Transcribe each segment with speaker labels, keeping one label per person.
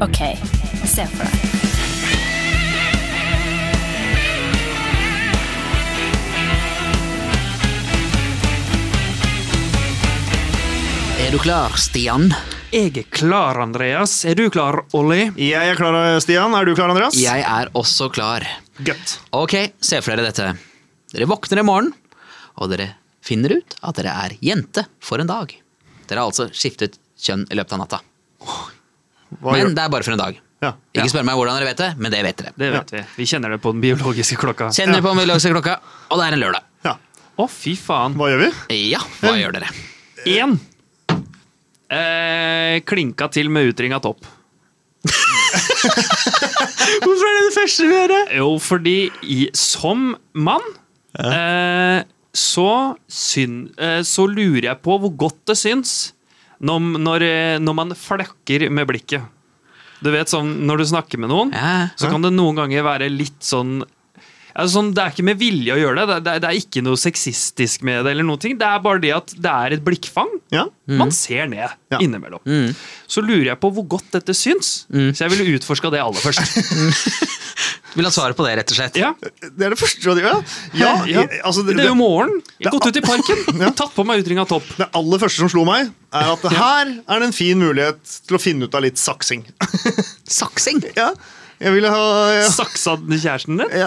Speaker 1: OK, se for deg.
Speaker 2: Er du klar, Stian?
Speaker 3: Jeg er klar, Andreas. Er du klar, Olli?
Speaker 4: Jeg er klar, Stian. Er du klar, Andreas?
Speaker 2: Jeg er også klar.
Speaker 4: Godt.
Speaker 2: Ok, se for dere dette. Dere våkner i morgen, og dere finner ut at dere er jente for en dag. Dere har altså skiftet kjønn i løpet av natta.
Speaker 4: Hva
Speaker 2: men
Speaker 4: gjør-
Speaker 2: det er bare for en dag.
Speaker 4: Ja.
Speaker 2: Ikke spør meg hvordan dere vet det, men det vet dere.
Speaker 3: Det vet vi. Vi kjenner det på den biologiske klokka. Å,
Speaker 2: Kjenner på middagse klokka, og det er en lørdag.
Speaker 4: ja.
Speaker 3: fy faen.
Speaker 4: Hva gjør vi?
Speaker 2: Ja, hva gjør dere?
Speaker 3: Én. Eh, klinka til med utringa topp.
Speaker 2: Hvorfor er det det første vi gjør?
Speaker 3: Jo, fordi i, som mann eh, så, syn, eh, så lurer jeg på hvor godt det syns når, når, eh, når man flakker med blikket. Du vet sånn, Når du snakker med noen,
Speaker 2: Ja.
Speaker 3: så kan det noen ganger være litt sånn Altså, sånn, det er ikke med vilje å gjøre det. Det, det, det er ikke noe sexistisk med det. eller noen ting. Det er bare det at det er et blikkfang.
Speaker 4: Ja.
Speaker 3: Man ser ned
Speaker 4: Mm. Ja. Mm.
Speaker 3: innimellom. Så lurer jeg på hvor godt dette syns, så jeg ville utforska det aller først.
Speaker 2: Vil ha svaret på det, rett og slett.
Speaker 3: Ja.
Speaker 4: Det er det første du gjør. Ja,
Speaker 3: Ja.
Speaker 4: i- altså,
Speaker 3: det, er jo morgen. Jeg har
Speaker 4: det-
Speaker 3: gått ut i parken, tatt på meg utringa topp.
Speaker 4: Det aller første som slo meg, er at her er det en fin mulighet til å finne ut av litt saksing.
Speaker 2: Saksing!
Speaker 4: Ja, jeg ville ha ja.
Speaker 3: Saksa den kjæresten din.
Speaker 4: ja.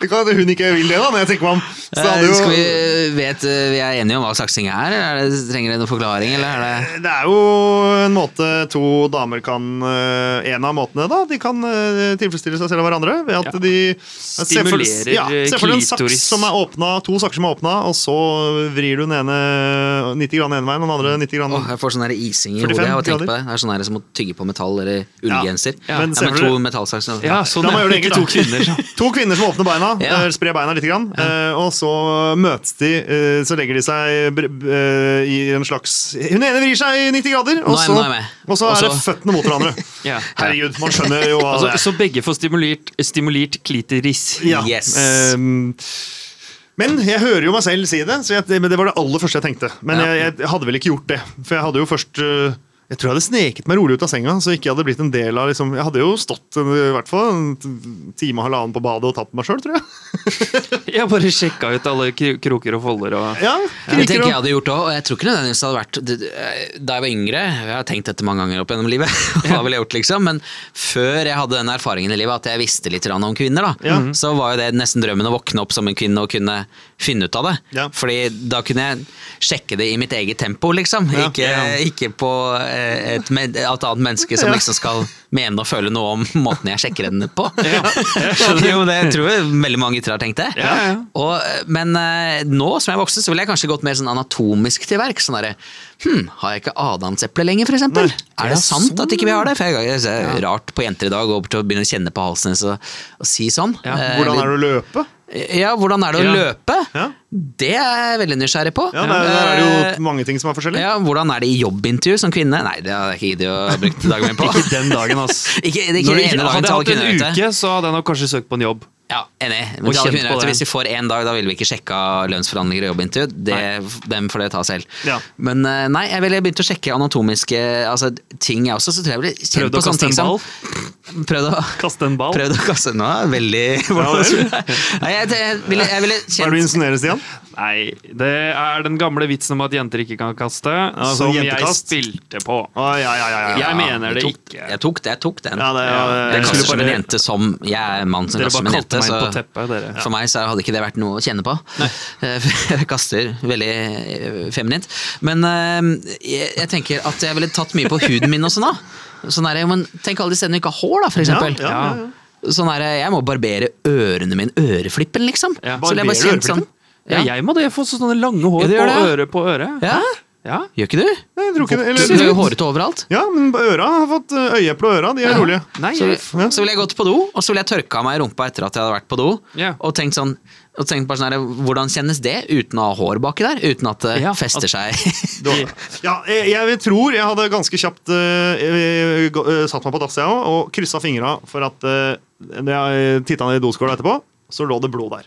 Speaker 4: Det kan hende hun ikke vil det, da, men jeg tenker meg om. Så det hadde
Speaker 2: Eh, Skal vi,
Speaker 4: jo,
Speaker 2: vet, eh, vi er enige om hva saksing er? eller Er det, trenger det noen forklaring? Eller er det
Speaker 4: Eh, det er jo en måte to damer kan eh, En av måtene, da. De kan eh, tilfredsstille seg selv og hverandre ved at
Speaker 3: Ja.
Speaker 4: de
Speaker 3: Stimulerer,
Speaker 4: ja, Se for deg en saks
Speaker 3: klitoris.
Speaker 4: som er åpna, to sakser som er åpna, og så vrir du den ene 90 grann ene veien og den andre 90 grann
Speaker 2: Åh, jeg får sånn der ising i
Speaker 4: 45
Speaker 2: hodet av å tenke
Speaker 4: grader.
Speaker 2: på det. Det er sånn der som å tygge på metall eller ullgenser.
Speaker 4: Ja,
Speaker 2: Ja,
Speaker 4: men
Speaker 2: men,
Speaker 4: ser du-
Speaker 2: to altså. metallsakser.
Speaker 3: Ja, sånn
Speaker 4: Da
Speaker 3: er
Speaker 4: må jeg gjøre det
Speaker 3: ikke
Speaker 4: enkelt,
Speaker 3: to kvinner. så.
Speaker 4: To kvinner som åpner beina,
Speaker 2: Ja.
Speaker 4: eh, sprer beina litt, grann, eh, og så møtes de. eh, Så legger de seg br- b- eh, i en slags Hun ene vrir seg i 90 grader,
Speaker 2: Nå
Speaker 4: og
Speaker 2: er jeg-
Speaker 4: så,
Speaker 2: nå er jeg med.
Speaker 4: og så
Speaker 2: Og
Speaker 4: er
Speaker 2: så-
Speaker 4: det føttene mot hverandre.
Speaker 3: Altså- Ja.
Speaker 4: Herregud, man skjønner jo hva
Speaker 3: Altså,
Speaker 4: det er.
Speaker 3: så begge får stimulert, stimulert klitoris.
Speaker 4: Ja.
Speaker 2: Yes.
Speaker 4: eh, men jeg hører jo meg selv si det, så jeg, men det var det aller første jeg tenkte. Men
Speaker 2: Ja.
Speaker 4: jeg, jeg hadde vel ikke gjort det. For jeg hadde jo først eh, Jeg tror jeg hadde sneket meg rolig ut av senga. Så ikke jeg hadde blitt en del av liksom, Jeg hadde jo stått eh, i hvert fall en t- time og halvannen på badet og tatt på meg sjøl, tror jeg.
Speaker 3: Jeg bare sjekka ut alle kro- kroker og folder og
Speaker 4: Ja,
Speaker 2: Det
Speaker 4: kriker
Speaker 2: tenker
Speaker 4: og-
Speaker 2: jeg hadde gjort òg, og jeg tror ikke nødvendigvis det hadde vært det- det- Da jeg var yngre, jeg har tenkt dette mange ganger opp gjennom livet, hva ville jeg gjort liksom, men før jeg hadde den erfaringen i livet at jeg visste litt grann om kvinner, da,
Speaker 4: Ja.
Speaker 2: så var jo det nesten drømmen å våkne opp som en kvinne og kunne finne ut av det.
Speaker 4: Ja.
Speaker 2: Fordi da kunne jeg sjekke det i mitt eget tempo, liksom.
Speaker 4: Ja.
Speaker 2: Ikke, ikke på eh, et, men- et annet menneske som
Speaker 4: Ja.
Speaker 2: liksom skal mene og føle noe om måten jeg sjekker henne på.
Speaker 3: Ja, jeg skjønner.
Speaker 2: Jo, det tror jeg veldig mange gutter har tenkt det.
Speaker 3: Ja, ja.
Speaker 2: Og, men eh, nå som jeg er voksen, så ville jeg kanskje gått mer sånn anatomisk til verk. Sånn derre Hm, har jeg ikke adamseple lenger, for eksempel? Er det sant at ikke vi har det? For jeg, jeg, jeg, Rart på jenter i dag å gå bort og begynne å kjenne på halsen hennes og, og si sånn.
Speaker 3: Ja,
Speaker 2: Eh,
Speaker 4: Hvordan er det å løpe?
Speaker 2: ja, hvordan er det å
Speaker 3: Ja.
Speaker 2: løpe?
Speaker 4: Ja.
Speaker 2: Det er jeg veldig nysgjerrig på.
Speaker 4: Ja, der, der er det jo mange ting som er forskjellig.
Speaker 2: Eh, ja, Hvordan er det i jobbintervju som kvinne? Nei, det hadde jeg ikke giddet å bruke dagen min på.
Speaker 3: Ikke den dagen, ass.
Speaker 2: Ikke, det er ikke
Speaker 3: Når du
Speaker 2: den
Speaker 3: ikke-
Speaker 2: ene dagen til
Speaker 3: hadde jeg
Speaker 2: alle
Speaker 3: hatt en
Speaker 2: kvinner, vet jeg.
Speaker 3: uke, så hadde jeg nok kanskje søkt på en jobb.
Speaker 2: Ja, enig. Men
Speaker 3: Og
Speaker 2: til alle
Speaker 3: kjent
Speaker 2: kvinner, vet
Speaker 3: på
Speaker 2: du,
Speaker 3: det.
Speaker 2: hvis de får én dag, da vil vi ikke sjekke lønnsforhandlinger og jobbintervju. Det, dem får dere ta selv.
Speaker 4: Ja.
Speaker 2: Men eh, nei, jeg ville begynt å sjekke anatomiske altså, ting, jeg også. Så tror jeg jeg ville kjent
Speaker 3: Prøvd å
Speaker 2: på sånne
Speaker 3: kaste
Speaker 2: ting
Speaker 3: en
Speaker 2: som
Speaker 3: ball.
Speaker 2: Prøvd å
Speaker 3: Kaste en ball.
Speaker 2: Prøvd å kaste Nå er jeg veldig Nei, jeg, jeg, ville, jeg ville
Speaker 4: Hva er det du
Speaker 2: kjent
Speaker 4: insinuerer, Stian?
Speaker 3: Nei, det er den gamle vitsen om at jenter ikke kan kaste,
Speaker 4: sånn
Speaker 3: som jeg
Speaker 4: jentekast.
Speaker 3: spilte på.
Speaker 4: Å, ja, ja, ja, ja.
Speaker 3: Jeg mener
Speaker 2: jeg
Speaker 3: det
Speaker 2: tok,
Speaker 3: ikke.
Speaker 2: Jeg tok, det, jeg tok den.
Speaker 4: Ja, det, ja,
Speaker 3: Jeg
Speaker 2: Jeg
Speaker 4: det,
Speaker 3: skulle
Speaker 2: kaster som en
Speaker 3: bare-
Speaker 2: jente som Jeg er mann som
Speaker 3: Dere
Speaker 2: kaster som
Speaker 3: bare
Speaker 2: en
Speaker 3: kalte
Speaker 2: jente.
Speaker 3: meg
Speaker 2: Så
Speaker 3: på teppet, dere.
Speaker 2: For meg så hadde ikke det vært noe å kjenne på. Eh, for Jeg kaster veldig eh, feminint. Men eh, jeg, jeg tenker at jeg ville tatt mye på huden min også nå. Sånn er det, men tenk alle de stedene du ikke har hår, da, for eksempel.
Speaker 4: Ja, ja, ja,
Speaker 2: Sånn er det, jeg må barbere ørene mine. Øreflippen, liksom.
Speaker 3: Ja.
Speaker 2: Så ville jeg bare
Speaker 4: Barberer
Speaker 2: kjent sånn.
Speaker 4: øreflippen?
Speaker 3: Ja, jeg må det. Jeg får sånne lange hår
Speaker 2: Ja, det gjør
Speaker 3: på
Speaker 2: det,
Speaker 3: øret på øret.
Speaker 2: ja.
Speaker 3: Ja.
Speaker 2: Gjør ikke du?
Speaker 4: Nei, jeg tror ikke det.
Speaker 2: Du er jo
Speaker 4: Eller,
Speaker 2: hårete overalt.
Speaker 4: ja, men øra har fått eh, øyeeple og øra. De er rolige.
Speaker 3: Nei,
Speaker 2: Så,
Speaker 3: jeg,
Speaker 4: Ja.
Speaker 2: så ville jeg gått på do, og så ville jeg tørka meg i rumpa etter at jeg hadde vært på do.
Speaker 3: Ja.
Speaker 2: Og tenkt sånn, og tenkt bare sånn her, hvordan kjennes det uten å ha hår baki der? Uten at det
Speaker 3: Ja, at-
Speaker 2: fester seg?
Speaker 3: de-
Speaker 4: Ja, jeg, jeg tror jeg hadde ganske kjapt eh, eh, gå- eh, satt meg på dass, jeg òg, og kryssa fingra for at eh, når jeg titta ned i doskåla etterpå, så lå det blod der.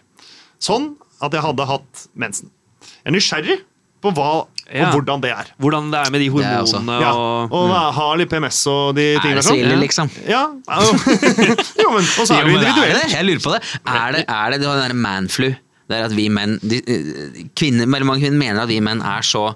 Speaker 4: Sånn at jeg hadde hatt mensen. Jeg er nysgjerrig, på hva og
Speaker 3: Ja.
Speaker 4: hvordan det er.
Speaker 3: Hvordan det er med de
Speaker 2: er jeg også.
Speaker 3: hormonene
Speaker 4: Ja.
Speaker 3: og Mm.
Speaker 4: Og da har litt PMS og de
Speaker 2: Er det
Speaker 4: tingene der
Speaker 2: så
Speaker 4: sånn.
Speaker 2: ille,
Speaker 3: Ja.
Speaker 2: liksom?
Speaker 4: Ja, au. jo, men, og så er
Speaker 2: Jo,
Speaker 4: det jo
Speaker 2: men
Speaker 4: individuelt.
Speaker 2: det? Jeg lurer på det. Er det er det, det var den derre manflu? Det er at vi menn de, eh, kvinner, Veldig mange kvinner mener at vi menn er så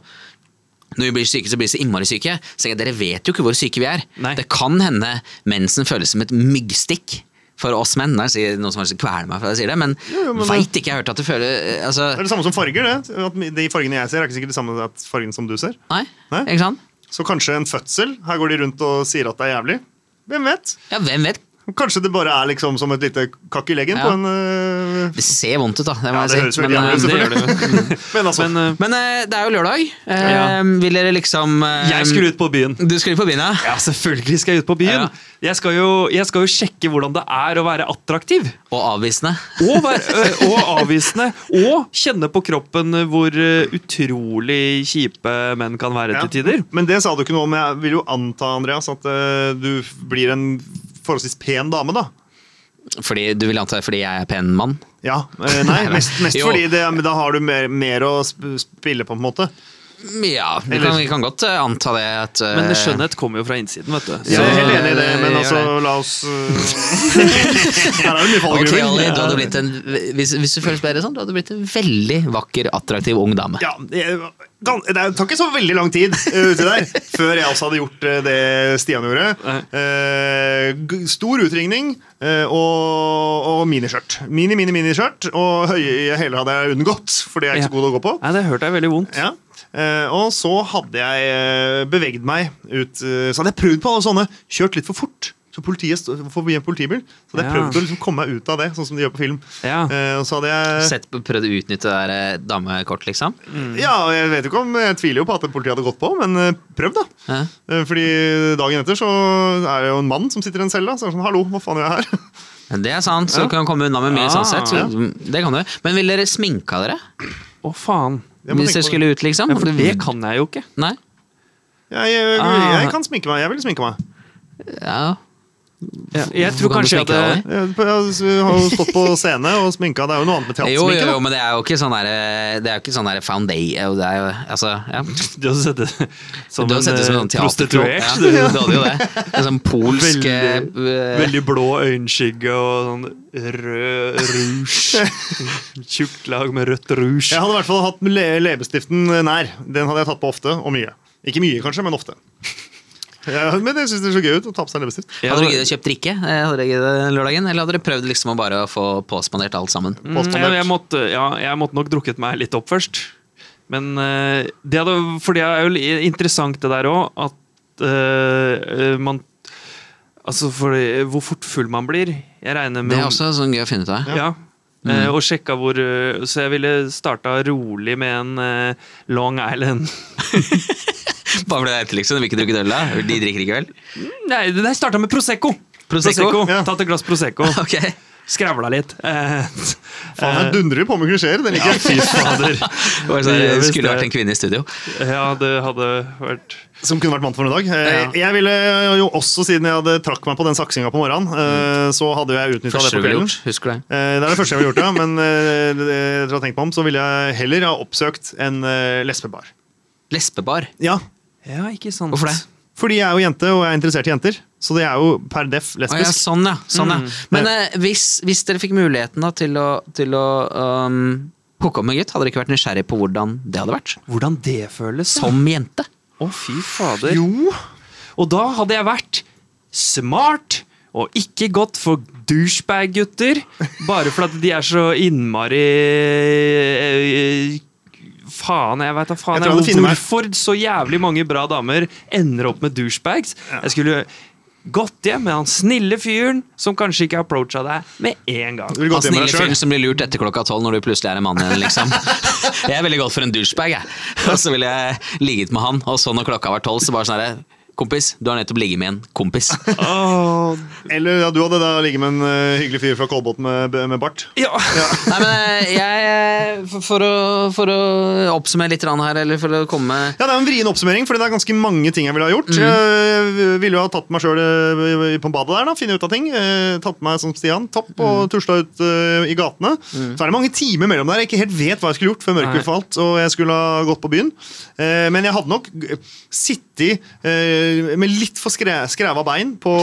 Speaker 2: når vi blir syke, så blir vi så innmari syke. Så jeg, dere vet jo ikke hvor syke vi er.
Speaker 3: Nei.
Speaker 2: Det kan hende mensen føles som et myggstikk for oss menn. Nei, sier noen som helst kveler meg for at jeg sier det, men,
Speaker 4: jo, men-
Speaker 2: veit ikke. Jeg har hørt at det føles eh, altså,
Speaker 4: Det er det samme som farger, det. At de fargene jeg ser, er ikke sikkert det samme som at fargene som du ser.
Speaker 2: nei,
Speaker 4: Nei.
Speaker 2: Ikke sant?
Speaker 4: Så kanskje en fødsel. Her går de rundt og sier at det er jævlig. Hvem vet?
Speaker 2: Ja, hvem vet?
Speaker 4: Kanskje det bare er liksom som et lite kakk i leggen
Speaker 2: Ja.
Speaker 4: på en øh,
Speaker 2: Det ser vondt ut, da. Det, må
Speaker 4: Ja, det
Speaker 2: jeg
Speaker 4: høres
Speaker 2: si.
Speaker 4: veldig
Speaker 2: Men,
Speaker 4: jævlig ut,
Speaker 2: eh,
Speaker 4: selvfølgelig. Men altså,
Speaker 3: Men eh,
Speaker 2: men eh, det er jo lørdag. Eh,
Speaker 3: Ja.
Speaker 2: Vil dere liksom eh,
Speaker 3: jeg skulle ut på byen.
Speaker 2: Du skulle på byen, ja?
Speaker 3: Ja, selvfølgelig skal jeg ut på byen.
Speaker 2: Ja.
Speaker 3: Jeg, skal jo, jeg skal jo sjekke hvordan det er å være attraktiv.
Speaker 2: Og avvisende.
Speaker 3: Og, være, eh, og avvisende. Og kjenne på kroppen hvor eh, utrolig kjipe menn kan være
Speaker 4: ja.
Speaker 3: til tider.
Speaker 4: Men det sa du ikke noe om. Jeg vil jo anta, Andreas, at øh, du blir en forholdsvis pen dame, da.
Speaker 2: Fordi, du vil anta det er fordi jeg er pen mann?
Speaker 4: Ja, øh, Nei, mest, mest
Speaker 2: Jo.
Speaker 4: fordi det, men da har du mer, mer å sp- spille på, på en måte.
Speaker 2: Ja, vi
Speaker 4: Eller-
Speaker 2: kan, vi kan godt eh, anta det. At, eh,
Speaker 3: Men skjønnhet kommer jo fra innsiden, vet du.
Speaker 4: Så
Speaker 2: Ja,
Speaker 4: jeg er helt enig i det, men
Speaker 2: gjør
Speaker 4: altså,
Speaker 2: det.
Speaker 4: la oss øh, Her er det mye
Speaker 2: Ok,
Speaker 4: fallgruver.
Speaker 2: Ali, du hadde blitt en, hvis, hvis du føles bedre sånn, du hadde blitt en veldig vakker, attraktiv ung dame.
Speaker 4: Ja, det- gan- det tar ikke så veldig lang tid eh, uti der, før jeg også hadde gjort eh, det Stian gjorde.
Speaker 3: Nei.
Speaker 4: Eh, g- stor utringning eh, og, og miniskjørt. Mini, mini, miniskjørt. Og høye hæler hadde jeg unngått, for det er jeg ikke så
Speaker 3: Ja.
Speaker 4: god å gå på.
Speaker 3: Nei, det hørte jeg veldig vondt.
Speaker 4: Ja. Eh, og så hadde jeg eh, beveget meg ut eh, Så hadde jeg prøvd på alle sånne. Kjørt litt for fort. Så politiet sto- forbi en politibil. Så hadde jeg
Speaker 3: Ja.
Speaker 4: prøvd å liksom komme meg ut av det, sånn som de gjør på film.
Speaker 3: Ja.
Speaker 4: Eh, og så hadde jeg
Speaker 2: Sett, prøvd å utnytte det der eh, damekort, liksom.
Speaker 4: Mm. ja, og jeg vet jo ikke om Jeg tviler jo på at politiet hadde gått på, men eh, prøv, da.
Speaker 2: Ja.
Speaker 4: Eh, Fordi dagen etter så er det jo en mann som sitter i en celle. da, Så er det sånn, hallo, hva faen gjør jeg her?
Speaker 2: Eh, Det er sant, så
Speaker 3: Ja.
Speaker 2: du kan komme unna med mye
Speaker 3: Ah.
Speaker 2: sånn sett.
Speaker 4: Ja.
Speaker 2: Så, det kan du. Men ville dere sminka dere?
Speaker 3: Å, faen.
Speaker 4: Jeg må
Speaker 2: Hvis
Speaker 4: tenke
Speaker 2: dere
Speaker 4: på
Speaker 2: skulle ut, liksom?
Speaker 3: Ja, for det kan jeg jo ikke.
Speaker 2: Nei?
Speaker 4: Jeg, jeg, jeg, jeg kan sminke meg. Jeg vil sminke meg.
Speaker 2: Ja.
Speaker 3: Jeg
Speaker 2: Hvorfor
Speaker 3: tror
Speaker 2: kan du
Speaker 3: kanskje jeg
Speaker 2: sminke deg,
Speaker 3: hadde
Speaker 2: Ali?
Speaker 4: Jeg, jeg har jo stått på scene og sminka. Det er jo noe annet med
Speaker 2: Jo, jo, jo,
Speaker 4: teatersminke. da.
Speaker 2: men det er jo ikke sånn derre Det er jo ikke sånn derre founday... Det er jo Altså, ja.
Speaker 3: Du hadde sett det som
Speaker 2: Du hadde sett det som en
Speaker 3: eh,
Speaker 2: sånn teaterklovn. Ja,
Speaker 3: prostituert.
Speaker 2: du, du hadde jo det. En sånn polsk eh,
Speaker 3: Veldig blå øyenskygge og sånn rød rouge. Tjukt lag med rødt rouge.
Speaker 4: Jeg hadde i hvert fall hatt le leppestiften nær. Den hadde jeg tatt på ofte, og mye. Ikke mye, kanskje, men ofte. Ja, men jeg syns det er så gøy ut å ta på seg leppestift.
Speaker 3: Ja,
Speaker 2: Hadde
Speaker 3: det-
Speaker 2: du giddet å kjøpe drikke eh, hadde dere giddet lørdagen, eller hadde dere prøvd liksom å bare få påspandert alt sammen?
Speaker 3: Mm,
Speaker 4: Påstandert.
Speaker 3: jeg, jeg, måtte, ja, jeg måtte nok drukket meg litt opp først. Men eh, det hadde, for det er jo li- interessant det der òg, at eh, eh, man Altså for det- hvor fort full man blir. Jeg regner med
Speaker 2: Det er også Mm. sånn gøy å finne ut av.
Speaker 3: Ja. Eh, og sjekka hvor eh, Så jeg ville starta rolig med en eh, Long Island.
Speaker 2: Bare fordi det er et liksom, de vil ikke drikke øl da? De drikker ikke vel?
Speaker 3: Nei, jeg starta med Prosecco!
Speaker 2: Prosecco?
Speaker 4: Ja.
Speaker 3: Tatt et glass Prosecco.
Speaker 2: Ok.
Speaker 3: Skravla litt. Eh,
Speaker 4: Faen, jeg dundrer jo på med klisjeer. Den liker jeg.
Speaker 3: fy fader.
Speaker 2: Det var sånn,
Speaker 3: Det gjør
Speaker 2: det
Speaker 3: visst
Speaker 2: skulle
Speaker 3: det.
Speaker 2: vært en kvinne i studio.
Speaker 3: Ja, det hadde vært
Speaker 4: Som kunne vært mann for en dag. Eh, Jeg ville jo også, siden jeg hadde trakk meg på den saksinga på morgenen, eh, så hadde jeg utnytta det
Speaker 2: Mm. Første du
Speaker 4: på
Speaker 2: ville
Speaker 4: kvelden.
Speaker 2: gjort, husker du det?
Speaker 4: Eh, Det er det første jeg ville gjort, ja. Men eh, det- etter å ha tenkt meg om, så ville jeg heller ha oppsøkt en eh, lesbebar.
Speaker 2: Lesbebar.
Speaker 4: Ja,
Speaker 3: Ja, ikke sant.
Speaker 2: Hvorfor det?
Speaker 4: fordi jeg er jo jente, og jeg er interessert i jenter. Så det er jo per
Speaker 2: Å,
Speaker 4: def
Speaker 2: ja,
Speaker 4: lesbisk.
Speaker 2: sånn, ja. Sånn, ja.
Speaker 3: Mm.
Speaker 2: Men eh, hvis, hvis dere fikk muligheten da, til å, til å um, hooke opp med en gutt, hadde dere ikke vært nysgjerrig på hvordan det hadde vært?
Speaker 3: Hvordan det føles? Å,
Speaker 2: Som jente?
Speaker 3: fy fader.
Speaker 4: Jo,
Speaker 3: Og da hadde jeg vært smart og ikke gått for douchebag-gutter. Bare for at de er så innmari eh, Faen, jeg veit da faen. Jeg
Speaker 4: Jeg tror jeg hadde funnet meg-
Speaker 3: hvorfor så jævlig mange bra damer ender opp med douchebags. Jeg skulle gått hjem med han snille fyren som kanskje ikke approacha deg med en gang.
Speaker 4: du ville
Speaker 2: Han
Speaker 4: gått hjem med
Speaker 2: snille
Speaker 4: deg sjøl.
Speaker 2: Altså, fyren som blir lurt etter klokka tolv når du plutselig er en mann igjen, liksom. Jeg er veldig godt for en douchebag, jeg. Og så ville jeg ligget med han, og så når klokka var tolv, så bare sånn herre kompis, du har nettopp ligget med en kompis.
Speaker 4: Eller ja, du hadde da ligget med en eh, hyggelig fyr fra Kolbotn med, med bart.
Speaker 3: Ja.
Speaker 2: Nei, men eh, jeg eh, for, for, å, for å oppsummere litt grann her, eller for å komme
Speaker 4: Ja, Det er en vrien oppsummering, fordi det er ganske mange ting jeg ville ha gjort. Jeg ville jo ha tatt meg sjøl på badet der, da, finne ut av ting. Eh, Tatt meg som Stian Topp og tusla ut eh, i gatene. Så er det mange timer mellom der jeg ikke helt vet hva jeg skulle gjort før
Speaker 2: Nei.
Speaker 4: mørket falt og jeg skulle ha gått på byen. Eh, Men jeg hadde nok g- sittet eh, med litt for skre- skræva bein på,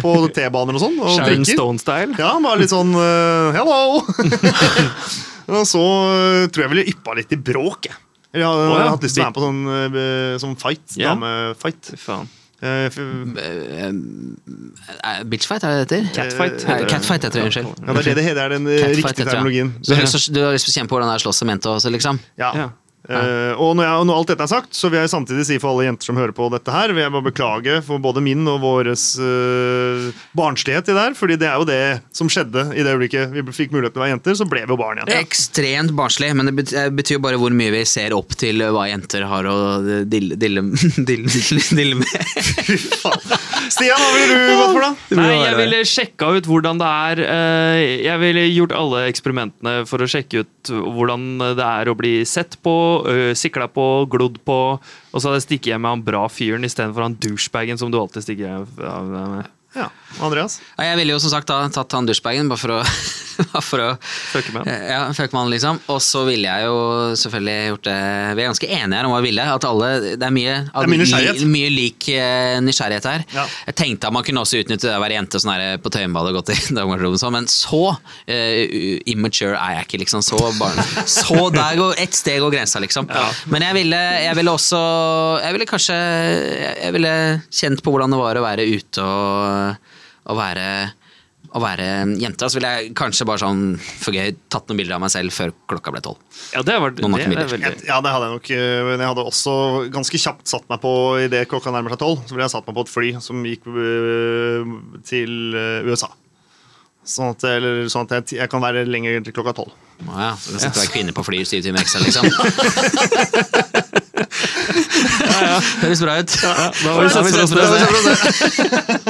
Speaker 4: på T-baner og sånn. Og
Speaker 3: Sharon
Speaker 4: drikker.
Speaker 3: Stone-style.
Speaker 4: Ja, bare litt sånn eh, hello! og så eh, tror jeg ville yppa litt i bråk, jeg. Eller Jeg har
Speaker 3: Å, ja.
Speaker 4: hatt lyst til å være med på sånn, eh, sånn fight.
Speaker 3: Ja.
Speaker 4: Damefight.
Speaker 3: Fy faen.
Speaker 4: Eh, f-
Speaker 2: Eh, Bitchfight, er det det heter?
Speaker 3: Catfight.
Speaker 2: Nei,
Speaker 3: heter det.
Speaker 2: Catfight heter det, unnskyld.
Speaker 4: ja, det er det det heter. Det er den eh,
Speaker 2: Catfight
Speaker 4: riktige
Speaker 2: heter det, ja.
Speaker 4: terminologien.
Speaker 2: Så du har lyst til å- du har lyst til å kjenne på hvordan det er å slåss i mente også, liksom?
Speaker 4: Ja.
Speaker 3: Ja.
Speaker 4: Eh, og når, jeg, når alt dette er sagt, så vil jeg samtidig si for alle jenter som hører på dette her, vil jeg bare beklage for både min og våres eh, barnslighet i det her, fordi det er jo det som skjedde i det øyeblikket vi fikk muligheten til å være jenter, så ble vi jo barn igjen.
Speaker 2: Ekstremt barnslig, men det bet- eh, betyr jo bare hvor mye vi ser opp til eh, hva jenter har å eh, dille, dille, dille, dille, dille med.
Speaker 4: Stian, hva ville du gått for, da?
Speaker 2: Det blir jo
Speaker 3: Nei, jeg
Speaker 2: verre og
Speaker 3: ville sjekka ut hvordan det er eh, Jeg ville gjort alle eksperimentene for å sjekke ut hvordan det er å bli sett på, ø, sikla på, glodd på. Og så hadde jeg stikket hjem med han bra fyren istedenfor han douchebagen som du alltid stikker hjem med.
Speaker 4: Ja, Andreas?
Speaker 2: Ja, jeg ville jo som sagt da tatt han douchebagen, bare for å, bare for å
Speaker 3: Fucke med han.
Speaker 2: Eh, Ja, fuck man, liksom. Og så ville jeg jo selvfølgelig gjort det Vi er ganske enige her om hva vi ville. At alle, det er mye,
Speaker 4: er mye nysgjerrighet.
Speaker 2: Li, mye lik eh, nysgjerrighet her.
Speaker 4: Ja.
Speaker 2: Jeg tenkte at man kunne også utnytte det å være jente sånn her på Tøyenbadet og gått i damegarderoben og sånn, men så eh, u- immature er jeg ikke, liksom. Så, barn. så der går ett steg går grensa, liksom. Men jeg ville, jeg ville også Jeg ville kanskje Jeg ville kjent på hvordan det var å være ute og, og være å være jente, så ville jeg kanskje bare sånn for gøy tatt noen bilder av meg selv før klokka ble tolv.
Speaker 3: Ja, det var, det,
Speaker 2: Noen
Speaker 3: er
Speaker 2: nakenbilder.
Speaker 3: veldig
Speaker 4: Ja, det hadde jeg nok. eh, Men jeg hadde også ganske kjapt satt meg på idet klokka nærmer seg tolv. Så ville jeg satt meg på et fly som gikk eh, til eh, USA. Sånn at, eller, sånn at jeg, jeg kan være lenger til klokka tolv.
Speaker 2: Å ja, så kan sitte og være kvinne på fly i syv timer ekstra, liksom. Høres bra ut.
Speaker 3: Da var vi satt for oss det.